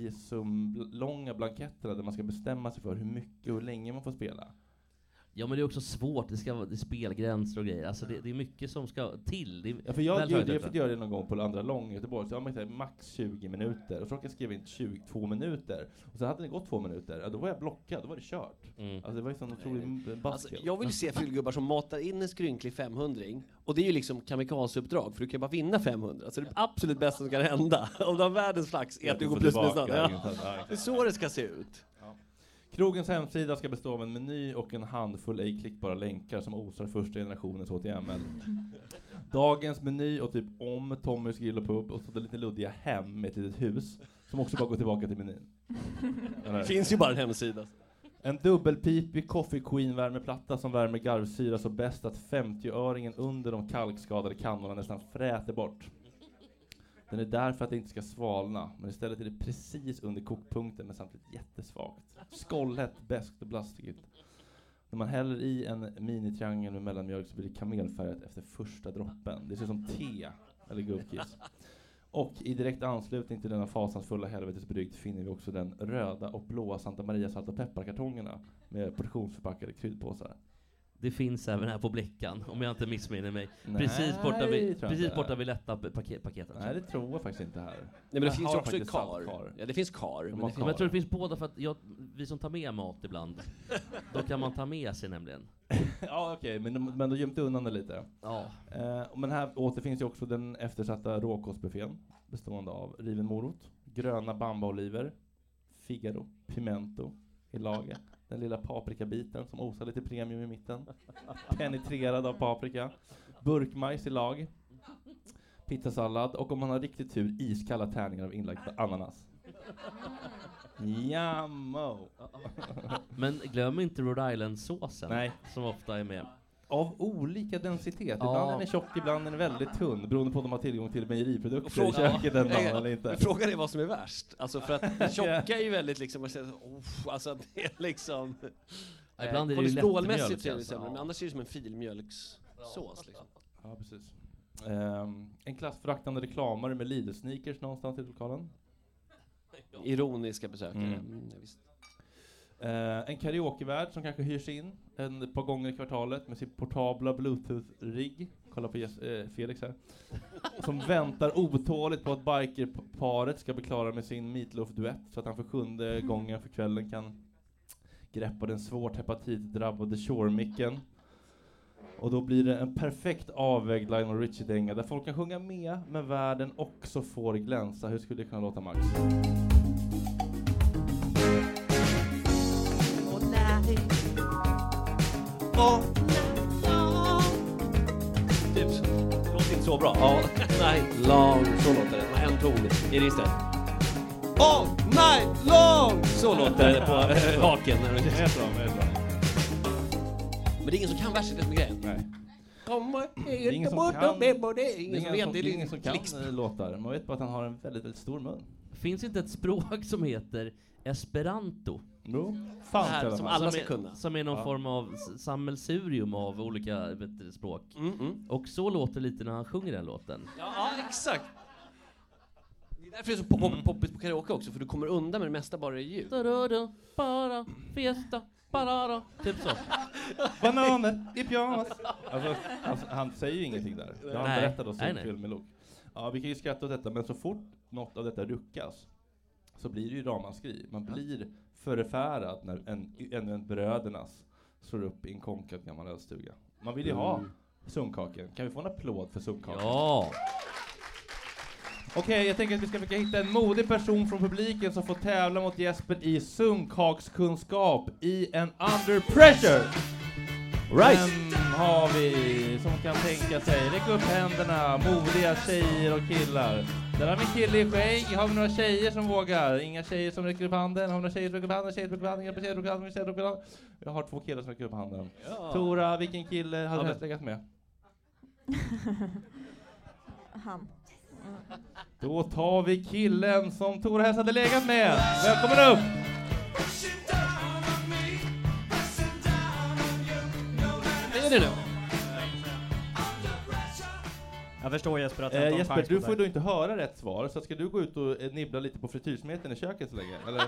S1: USA-visum-långa blanketterna där man ska bestämma sig för hur mycket och hur länge man får spela.
S8: Ja, men det är också svårt, det ska vara det är spelgränser och grejer. Alltså, det, det är mycket som ska till. Det är
S1: Ja, för jag,
S8: väl
S1: gjorde- jag
S8: höjdrätten.
S1: fick göra det någon gång på andra lång i Göteborg, så jag märkte max 20 minuter. Och så råkade jag skriva in 22 minuter. Och så hade det gått två minuter, ja, då var jag blockad, då var det kört.
S10: Mm.
S1: Alltså det var ju sån otrolig basket.
S10: Alltså, jag vill se fyllgubbar som matar in en skrynklig 500 och det är ju liksom kamikazeuppdrag för du kan ju bara vinna 500. Så det absolut bästa som kan hända om du har världens flax är att du går plus minus noll. Ja. Det är så det ska se ut.
S1: Krogens hemsida ska bestå av en meny och en handfull ej klickbara länkar som osar första generationens HTML. Dagens meny och typ om Tommys grill och pub och så det lite luddiga hem med ett litet hus som också bara går tillbaka till menyn.
S10: Det finns ju bara en hemsida.
S1: En dubbelpipig Coffee Queen-värmeplatta som värmer garvsyra så bäst att 50-öringen under de kalkskadade kannorna nästan fräter bort. Den är där för att det inte ska svalna, men istället är det precis under kokpunkten men samtidigt jättesvagt. Skållhett, beskt och plastigt. När man häller i en minitriangel med mellanmjölk så blir det kamelfärgat efter första droppen. Det ser ut som te, eller gubbkiss. Och i direkt anslutning till denna fasansfulla helvetesbrygd finner vi också den röda och blåa Santa Maria salt och pepparkartongerna med portionsförpackade kryddpåsar.
S8: Det finns även här på Bleckan, om jag inte missminner mig.
S1: Nej,
S8: precis borta
S1: tror jag
S8: vid,
S1: inte.
S8: precis borta vid lätta paket, paketet.
S1: Nej, det tror jag faktiskt inte här.
S10: Nej, men det
S1: Här
S10: finns
S1: har
S10: ju också i
S1: faktiskt salt
S10: kar. Ja, det finns kar.
S1: De
S10: Men
S1: har
S10: det
S8: Men jag
S10: finns...
S8: tror det finns båda för att jag, vi som tar med mat ibland, då kan man ta med sig nämligen.
S1: ja, okej, men, de- men de gömde undan det lite.
S8: Ja.
S1: Eh, men här återfinns ju också den eftersatta råkostbuffén bestående av riven morot, gröna bambaoliver, figaro, pimento i lager, den lilla paprikabiten som osar lite premium i mitten, penetrerad av paprika, burkmajs i lag, pizzasallad och om man har riktigt tur iskalla tärningar av inlagd ananas. Jammo!
S8: Men glöm inte Rhode Island-såsen,
S1: Nej.
S8: som ofta är med.
S1: Av olika densitet. Ibland
S8: Ja.
S1: är den tjock, ibland är den väldigt tunn beroende på om de har tillgång till mejeriprodukter i
S10: Fråga-
S1: köket den dagen
S10: Ja.
S1: eller inte.
S10: Frågan är vad som är värst. Alltså för att det tjocka är ju väldigt liksom, man känner, oh, alltså att det är liksom...
S8: Ja, ibland är det ju lättmjölk,
S10: Kolesterolmässigt så är det
S8: alltså.
S10: sämre,
S8: Ja.
S10: men annars är det som en filmjölkssås liksom.
S1: Ja, precis. Ehm, en klassföraktande reklamare med Lidl-sneakers någonstans i lokalen.
S10: Ironiska besökare.
S1: Mm.
S10: Mm. ja, visst.
S1: Eh, en karaokevärd som kanske hyrs in en par gånger i kvartalet med sin portabla bluetooth-rigg. Kolla på Jes- eh, Felix här. Som väntar otåligt på att bikerparet ska bli klara med sin Meatloaf-duett så att han för
S10: Mm.
S1: sjunde gången för kvällen kan greppa den svårt hepatitdrabbade Shore-micken. Och då blir det en perfekt avvägd Lionel Richie-dänga där folk kan sjunga med men världen också får glänsa. Hur skulle det kunna låta Max?
S10: Typ så. Det låter inte så bra. Ja. night long. Så låter det. Det var en ton i registret. All night long! Så låter det på eh, haken.
S1: Det är bra, det är bra.
S10: Men det är ingen som kan versen, det som är grejen.
S1: Nej.
S10: Komma
S1: Det är ingen som
S10: bort
S1: kan,
S10: och be på det. Ingen som vet,
S1: som,
S10: det är
S1: det är ingen
S10: liksom
S1: som kan
S10: klickst.
S1: eh, låtar. Man vet bara att han har en väldigt, väldigt stor mun.
S8: Finns inte ett språk som heter esperanto?
S1: Jo,
S8: Det
S1: fanns i
S8: här,
S1: alla
S8: som
S1: fall.
S8: alla
S1: Som
S8: ska
S1: är-
S8: kunna. Som är någon
S1: Ja.
S8: form av s- sammelsurium av olika vet, du, språk.
S10: Mm, mm.
S8: Och så låter det lite när han sjunger den låten.
S10: Ja, ja, exakt. Det är därför det är så pop-
S1: Mm.
S10: pop- poppigt på karaoke också, för du kommer undan med det mesta bara i ljud.
S8: Da-da-da, Bara, fiesta, bara, typ så.
S1: Bananer i pyjamas. Alltså, alltså, han säger ju ingenting där. Det har han
S8: Nej.
S1: berättat oss
S8: Nej,
S1: i
S8: nej.
S1: filmmelok. Ja, vi kan ju skratta åt detta, men så fort något av detta ruckas så blir det ju ramaskri. Man blir förfärad när en, ännu en brödernas slår upp i en konkad gammal ölstuga. Man vill ju ha
S8: Mm.
S1: sunkhaken. Kan vi få en applåd för sunkhaken?
S8: Ja!
S1: Okej, jag tänker att vi ska försöka hitta en modig person från publiken som får tävla mot Jesper i sunkhakskunskap i en under pressure!
S10: Right.
S1: Vem Mm, har vi som kan tänka sig? Räck upp händerna, modiga tjejer och killar. Där har vi en kille i skägg. Har vi några tjejer som vågar? Inga tjejer som räcker upp handen. Har vi några tjejer som räcker upp handen? Tjejer som räcker upp handen? Inga tjejer som räcker upp handen? Tjejer som räcker upp handen? Jag har två killar som räcker upp handen.
S9: Ja.
S1: Tora, vilken kille hade
S10: Ja,
S1: du
S10: men-
S1: helst legat med?
S9: Han.
S1: Då tar vi killen som Tora helst hade legat med. Välkommen upp!
S10: Vad är det nu?
S11: Jag förstår Jesper att jag
S1: Eh,
S11: tar
S1: Jesper,
S11: fight
S1: du
S11: mot
S1: får
S11: dig.
S1: då inte höra rätt svar, så ska du gå ut och eh, nibbla lite på frityrsmeten i köket så länge? Eller?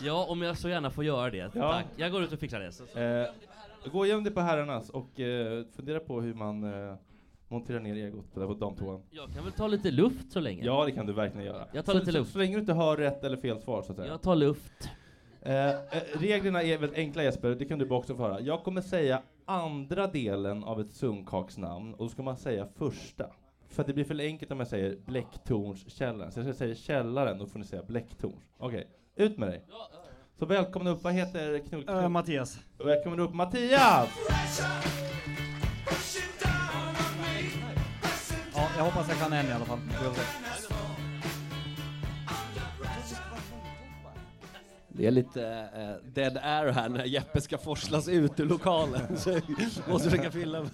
S8: Ja, om jag så gärna får göra det.
S1: Ja.
S8: Tack. Jag går ut och fixar det. Så- så-
S1: eh, gå igenom det på herrarnas och eh, fundera på hur man eh, monterar ner egot på, där på damtoan.
S8: Jag kan väl ta lite luft så länge?
S1: Ja, det kan du verkligen göra.
S8: Jag tar
S1: så,
S8: lite
S1: så,
S8: luft.
S1: Så länge du inte hör rätt eller fel svar så att säga.
S8: Jag tar luft.
S1: Eh, eh, reglerna är väldigt enkla Jesper, det kan du också få höra. Jag kommer säga andra delen av ett sunkhaksnamn och då ska man säga första. För att det blir för enkelt om jag säger Bläcktornskällan. Så jag ska säga källaren, då får ni säga Bläcktorn. Okej, ut med dig. Så välkomna upp, vad heter knull... knull?
S11: Eh, Mattias.
S1: Välkommen upp Mattias!
S11: Ja, jag hoppas jag kan en i alla fall. Vi får se.
S10: Det är lite eh, dead air här när Jeppe ska forslas ut ur lokalen. Så jag måste försöka fylla.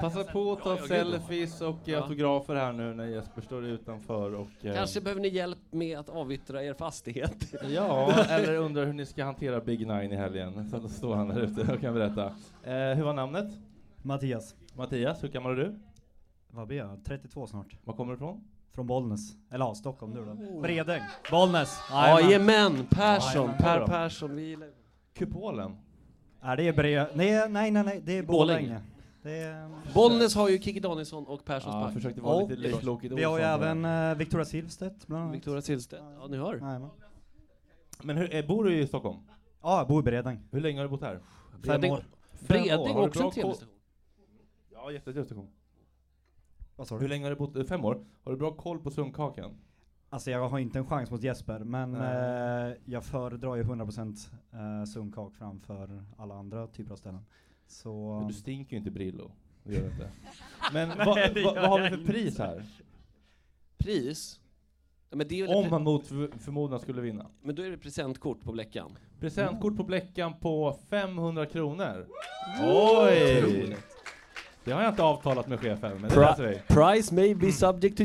S1: Passa på att ta selfies och
S10: Ja.
S1: autografer här nu när Jesper står utanför och... eh,
S10: Kanske behöver ni hjälp med att avyttra er fastighet.
S1: Ja, eller undrar hur ni ska hantera Big Nine i helgen. Så då står han där ute och kan berätta. Eh, hur var namnet?
S11: Mattias.
S1: Mattias, hur gammal är du?
S11: Vad blir jag? 32 snart.
S1: Var kommer du ifrån?
S11: Från Bollnäs. Eller ja, Stockholm nu då. Bredäng. Bollnäs.
S10: Oh. Jajamän, Persson,
S11: Jajamän.
S10: Per Persson. Vi gillar-
S1: Kupolen.
S11: Nej, det är Bre... Nej, nej, nej, nej, det är
S10: Borlänge.
S11: Borlänge. Det är...
S10: Bollnäs har ju Kikki Danielsson och Perssons
S1: Ja,
S10: park.
S1: försökte vara lite Leif Loket
S11: Vi har ju
S1: Olsson där.
S11: även eh, Victoria Silvstedt bland annat.
S10: Victoria Silvstedt. Ja, ni hör.
S11: Jajamän.
S1: Men hur, eh, bor du i Stockholm?
S11: Ja, jag bor i Bredäng.
S1: Hur länge har du bott här?
S11: Fem år.
S10: Bredäng
S1: Har du
S10: också en
S1: bra
S10: trevlig
S1: koll-
S10: station.
S1: Ja, jättetrevlig station.
S11: Vad sa du?
S1: Hur länge har du bott? eh, Fem år? Har du bra koll på sunkhakan?
S11: Alltså jag har inte en chans mot Jesper, men eh, jag föredrar ju 100% eh, sunkak framför alla andra typer av ställen. Så...
S1: Men du stinker ju inte Brillo. Det gör du inte. Men
S11: Nej,
S1: vad vad-
S11: det gör
S1: vad har vi
S11: jag
S1: för
S11: inte.
S1: pris här?
S10: Pris? Ja, men, det är väl
S1: Om man mot för- förmodan skulle vinna.
S10: men då är det presentkort på Bleckan.
S1: Presentkort på Bleckan på 500 kronor.
S10: Wow.
S1: Oj!
S10: Otroligt.
S1: Det har jag inte avtalat med chefen, men det löser vi.
S10: Pri- price may be subject to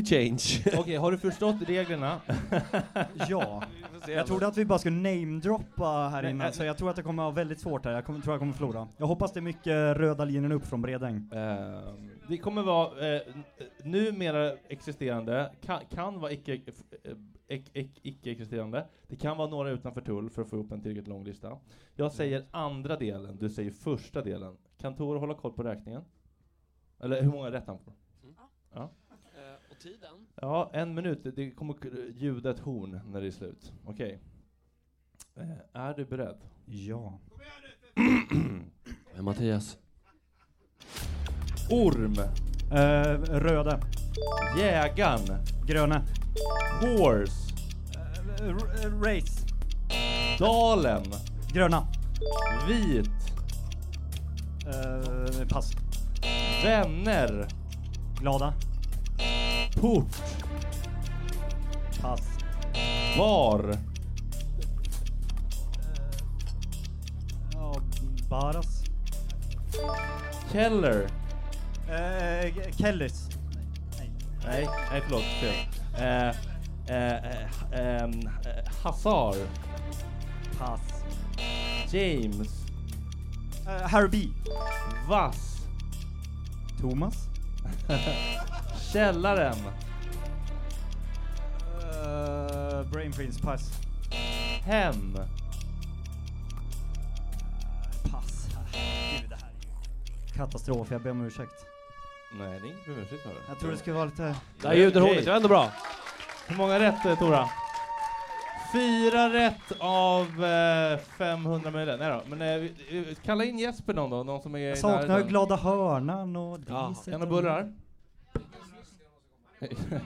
S10: change.
S1: Okej, har du förstått reglerna?
S11: Ja. Jag trodde att vi bara skulle namedroppa här
S1: Nej,
S11: innan,
S1: äh,
S11: så jag tror att det kommer att ha väldigt svårt här. Jag kommer, tror jag kommer förlora. Jag hoppas det är mycket röda linjen upp från Bredäng.
S1: Ehm, det kommer vara eh, n- numera existerande, kan, kan vara icke, eh, ic- ic- icke-existerande. Det kan vara några utanför tull för att få ihop en tillräckligt lång lista. Jag säger andra delen, du säger första delen. Kan Tor hålla koll på räkningen? Eller hur många rätt han får? Ja.
S10: Mm. Eh, och tiden?
S1: Ja, en minut. Det- Det kommer k- ljuda ett horn när det är slut. Okej. Eh, är du beredd?
S11: Ja.
S10: Men Mattias.
S1: Orm.
S11: Eh, röda.
S1: Jägaren.
S11: Gröna.
S1: Horse.
S11: Eh, race.
S1: Dalen.
S11: Gröna.
S1: Vit.
S11: Eh, pass.
S1: Vänner.
S11: Glada.
S1: Port.
S11: Pass. Eh,
S1: Var.
S11: Ja, Baras.
S1: Keller.
S11: Eh, K- Kellers.
S1: Nej, nej förlåt. Fel. Eh, eh, eh, ehm, eh, Hazar.
S11: Pass.
S1: James.
S11: Eh, Harry B.
S1: Vass.
S11: Thomas.
S1: Källaren.
S11: Eh, Brain Prince. Pass.
S1: Hem.
S11: Pass. Gud, det här är ju katastrof. Jag ber om ursäkt.
S1: Nej, det är inget brunchigt hörru.
S11: Jag tror det skulle vara lite...
S10: Det här är ju underhållning, det var ändå bra.
S1: Hur många rätt eh, Tora? Fyra rätt av eh, 500 möjliga. Nej då, men eh, vi- eh, kalla in Jesper någon då, någon som är
S11: Jag
S1: i
S11: saknar
S1: närheten.
S11: Glada Hörnan och
S1: Ja,
S11: Diset
S1: gärna
S11: och-
S1: bullar.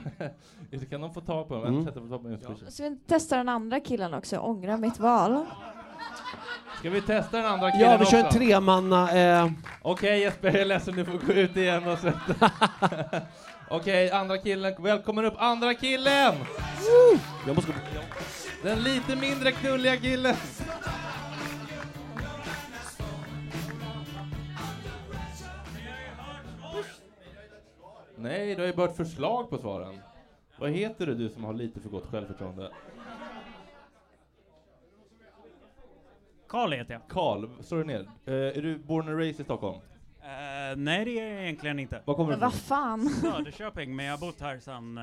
S1: Just det, kan de få tag på dem?
S10: Mm.
S1: Mm. Sätta på tag på dem.
S9: Så vi testar den andra killen också, ångra mitt val.
S1: Ska vi testa den andra killen
S10: Ja, vi kör en
S1: också?
S10: tremanna... Eh,
S1: Okej Jesper, jag är ledsen, du får gå ut igen och sätta... Okej, andra killen. Välkommen upp, andra killen!
S10: jag måste gå
S1: Den lite mindre knulliga killen. Nej, du har ju bara ett förslag på svaren. Vad heter du, du som har lite för gott självförtroende?
S12: Karl heter jag.
S1: Karl, slå dig ner. Eh, är du born and raised i Stockholm?
S12: Eh, nej, det är jag egentligen inte.
S1: Var kommer du ifrån?
S9: fan?
S12: Söderköping, men jag har bott här sedan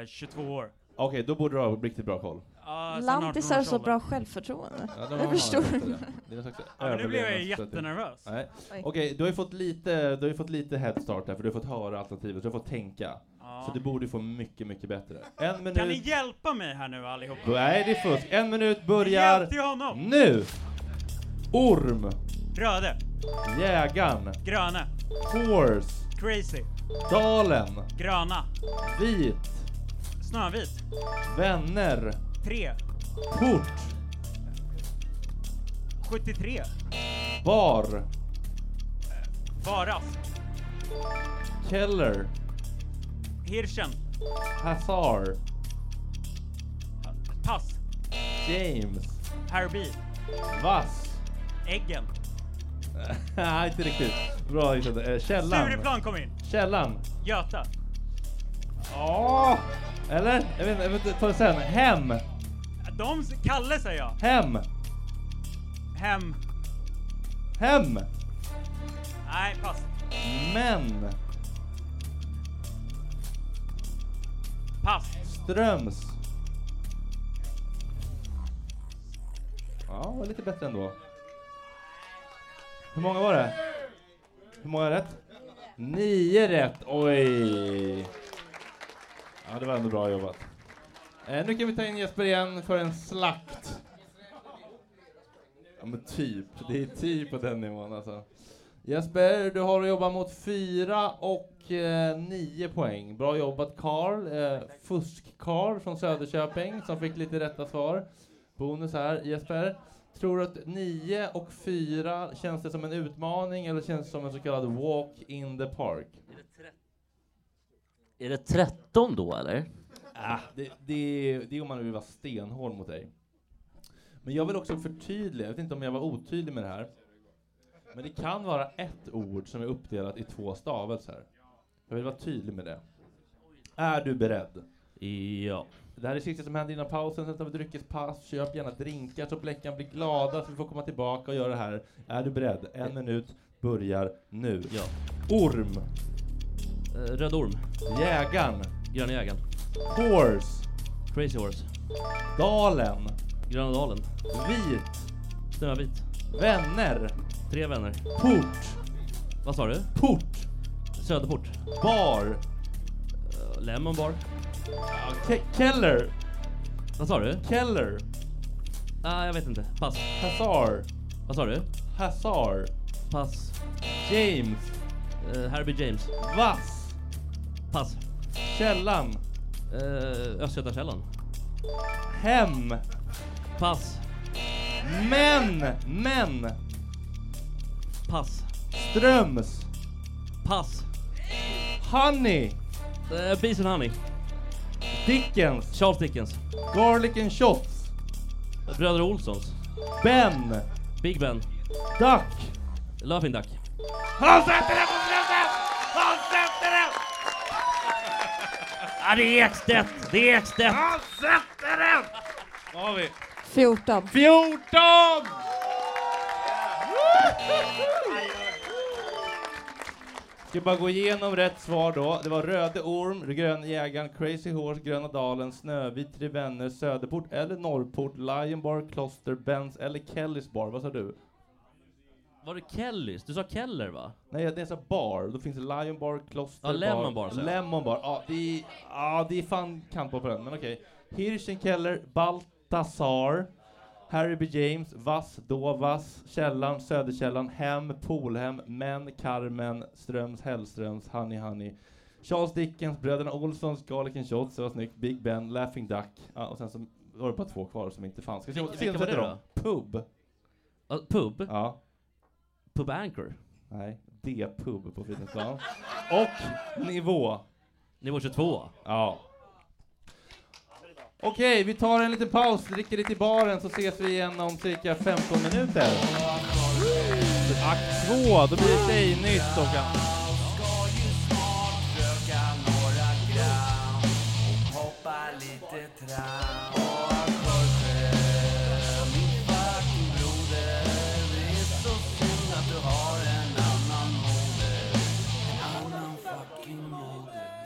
S12: eh, 22 år.
S1: Okej, då borde du ha riktigt bra koll.
S12: Ja, sedan
S9: Lantisar
S12: 18
S9: så
S12: års
S9: bra
S12: ålder.
S9: självförtroende.
S1: Ja, de har
S9: jag förstår
S1: det.
S9: inte.
S1: Det är någon slags
S12: Ja, men nu blev jag
S1: överlevnadsstrategi.
S12: jättenervös.
S1: Nej.
S12: Oj.
S1: Okej, du har ju fått lite, du har ju fått lite headstart här för du har fått höra alternativet, du har fått tänka.
S12: Ja.
S1: Så du borde få mycket, mycket bättre. En minut.
S12: Kan ni hjälpa mig här nu allihopa?
S1: Nej, det är fusk. En minut
S12: Jag
S1: börjar
S12: hjälpte ju honom.
S1: nu! Orm,
S12: Röde,
S1: Jägaren,
S12: gröne,
S1: Horse,
S12: crazy,
S1: Dalen,
S12: gröna,
S1: Vit,
S12: Snövit,
S1: Vänner,
S12: tre,
S1: Port,
S12: 73,
S1: Bar,
S12: Varas,
S1: Keller,
S12: Hirschen,
S1: Hazar,
S12: Pass,
S1: James,
S12: Harby,
S1: Vass.
S12: Äggen,
S1: Nej, inte riktigt. Bra gissat. Eh, Källan.
S12: Stureplan kom in,
S1: Källan.
S12: Göta,
S1: Ja. Eller? Jag vet inte, jag vet inte. Ta det sen. Hem.
S12: de, Kalle säger jag,
S1: Hem.
S12: hem,
S1: Hem.
S12: nej pass,
S1: Men.
S12: pass,
S1: Ströms. Ja, var lite bättre ändå. Hur många var det? Hur många rätt? Nio rätt. Oj. Ja, det var ändå bra jobbat. Eh, nu kan vi ta in Jesper igen för en slakt. Ja, men typ. Det är typ på den nivån alltså. Jesper, du har att jobba mot fyra och eh, nio poäng. Bra jobbat Karl. Eh, Fusk-Karl från Söderköping som fick lite rätta svar. Bonus här. Jesper, tror du att nio och fyra känns det som en utmaning eller känns det som en så kallad walk in the park?
S8: Är det 13 då eller?
S1: Ah, det, det, det är om man vill vara stenhård mot dig. Men jag vill också förtydliga, jag vet inte om jag var otydlig med det här. Men det kan vara ett ord som är uppdelat i två stavelser. Jag vill vara tydlig med det. Är du beredd?
S8: Ja.
S1: Det här är sista som händer innan pausen, sen tar vi dryckespaus. Köp gärna drinkar så Bleckan blir glada så vi får komma tillbaka och göra det här. Är du beredd? En minut börjar nu.
S8: Ja.
S1: Orm.
S8: Eh, Röd Orm,
S1: Jägaren.
S8: Gröna Jägaren,
S1: Horse.
S8: Crazy Horse,
S1: Dalen.
S8: Gröna Dalen,
S1: Vit.
S8: Snövit,
S1: Vänner.
S8: Tre Vänner,
S1: Port.
S8: vad sa du?
S1: Port.
S8: Söderport,
S1: Bar.
S8: Eh, Lemon Bar,
S1: Ke- Keller.
S8: vad sa du?
S1: Keller.
S8: Ah, jag vet inte, pass.
S1: Hazar.
S8: Vad sa du?
S1: Hazar.
S8: Pass.
S1: James.
S8: Uh, Harby James,
S1: Vass.
S8: pass.
S1: Källan.
S8: Uh, Östgötakällan,
S1: Hem.
S8: pass,
S1: Men. Men.
S8: pass,
S1: Ströms.
S8: pass.
S1: Honey.
S13: Eh, bees and honey.
S1: Dickens.
S13: Charles Dickens.
S1: Garlic and shots.
S13: Bröder Olssons.
S1: Ben.
S13: Big Ben.
S1: Duck.
S13: Laughing Duck.
S1: Han sätter den på slutet! Han sätter den!
S13: Ah, det är Ekstedt! Det är Ekstedt!
S1: Han sätter den! Då har vi.
S9: 14.
S1: 14! Ska bara gå igenom rätt svar då. Det var Röde Orm, Gröne Jägaren, Crazy Horse, Gröna Dalen, Snövit, Tre Vänner, Söderport eller Norrport, Lion Bar, Kloster, Benz eller Kellys Bar. Vad sa du?
S13: Var det Kellys? Du sa Keller va?
S1: Nej, jag- jag sa bar. Då finns det Lion Bar, Kloster
S13: Ja, Lemon Bar, säger jag.
S1: Lemon Bar. Ja, "Ah, det är, ja, det är fan kamp på den, men okej. Hirschenkeller, Baltasar, Harry B. James, Vass, Dovas, Källan, Söderkällan, Hem, Polhem, Men, Carmen, Ströms, Hellströms, Honey Honey, Charles Dickens, Bröderna Olssons, Garlic and Shots, det var snyggt, Big Ben, Laughing Duck. Ja, och sen så var det bara två kvar som inte fanns. Ska vi se om
S13: Vilka-
S1: se om
S13: vilka
S1: vi
S13: var
S1: sätter
S13: det
S1: dem? Pub.
S13: Ja, pub?
S1: Ja.
S13: Pub Anchor?
S1: Nej, D-pub på Fridhemsplan. Och nivå.
S13: Nivå 22?
S1: Ja. Okej, vi tar en liten paus, dricker lite i baren, så ses vi igen om cirka 15 minuter. Akt 2, då blir det Tjejnytt och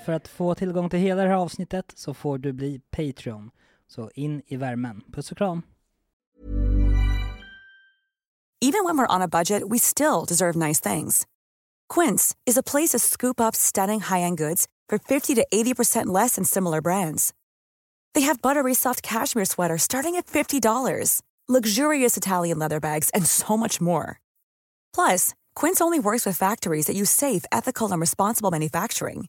S7: För att få tillgång till hela det här avsnittet så får du bli Patreon. Så in i värmen. Puss och kram!
S14: Even when we're on a budget, we still deserve nice things. Quince is a place to scoop up stunning high-end goods for 50 to 80% less than similar brands. They have buttery soft cashmere sweaters starting at $50, luxurious Italian leather bags, and so much more. Plus, Quince only works with factories that use safe, ethical, and responsible manufacturing.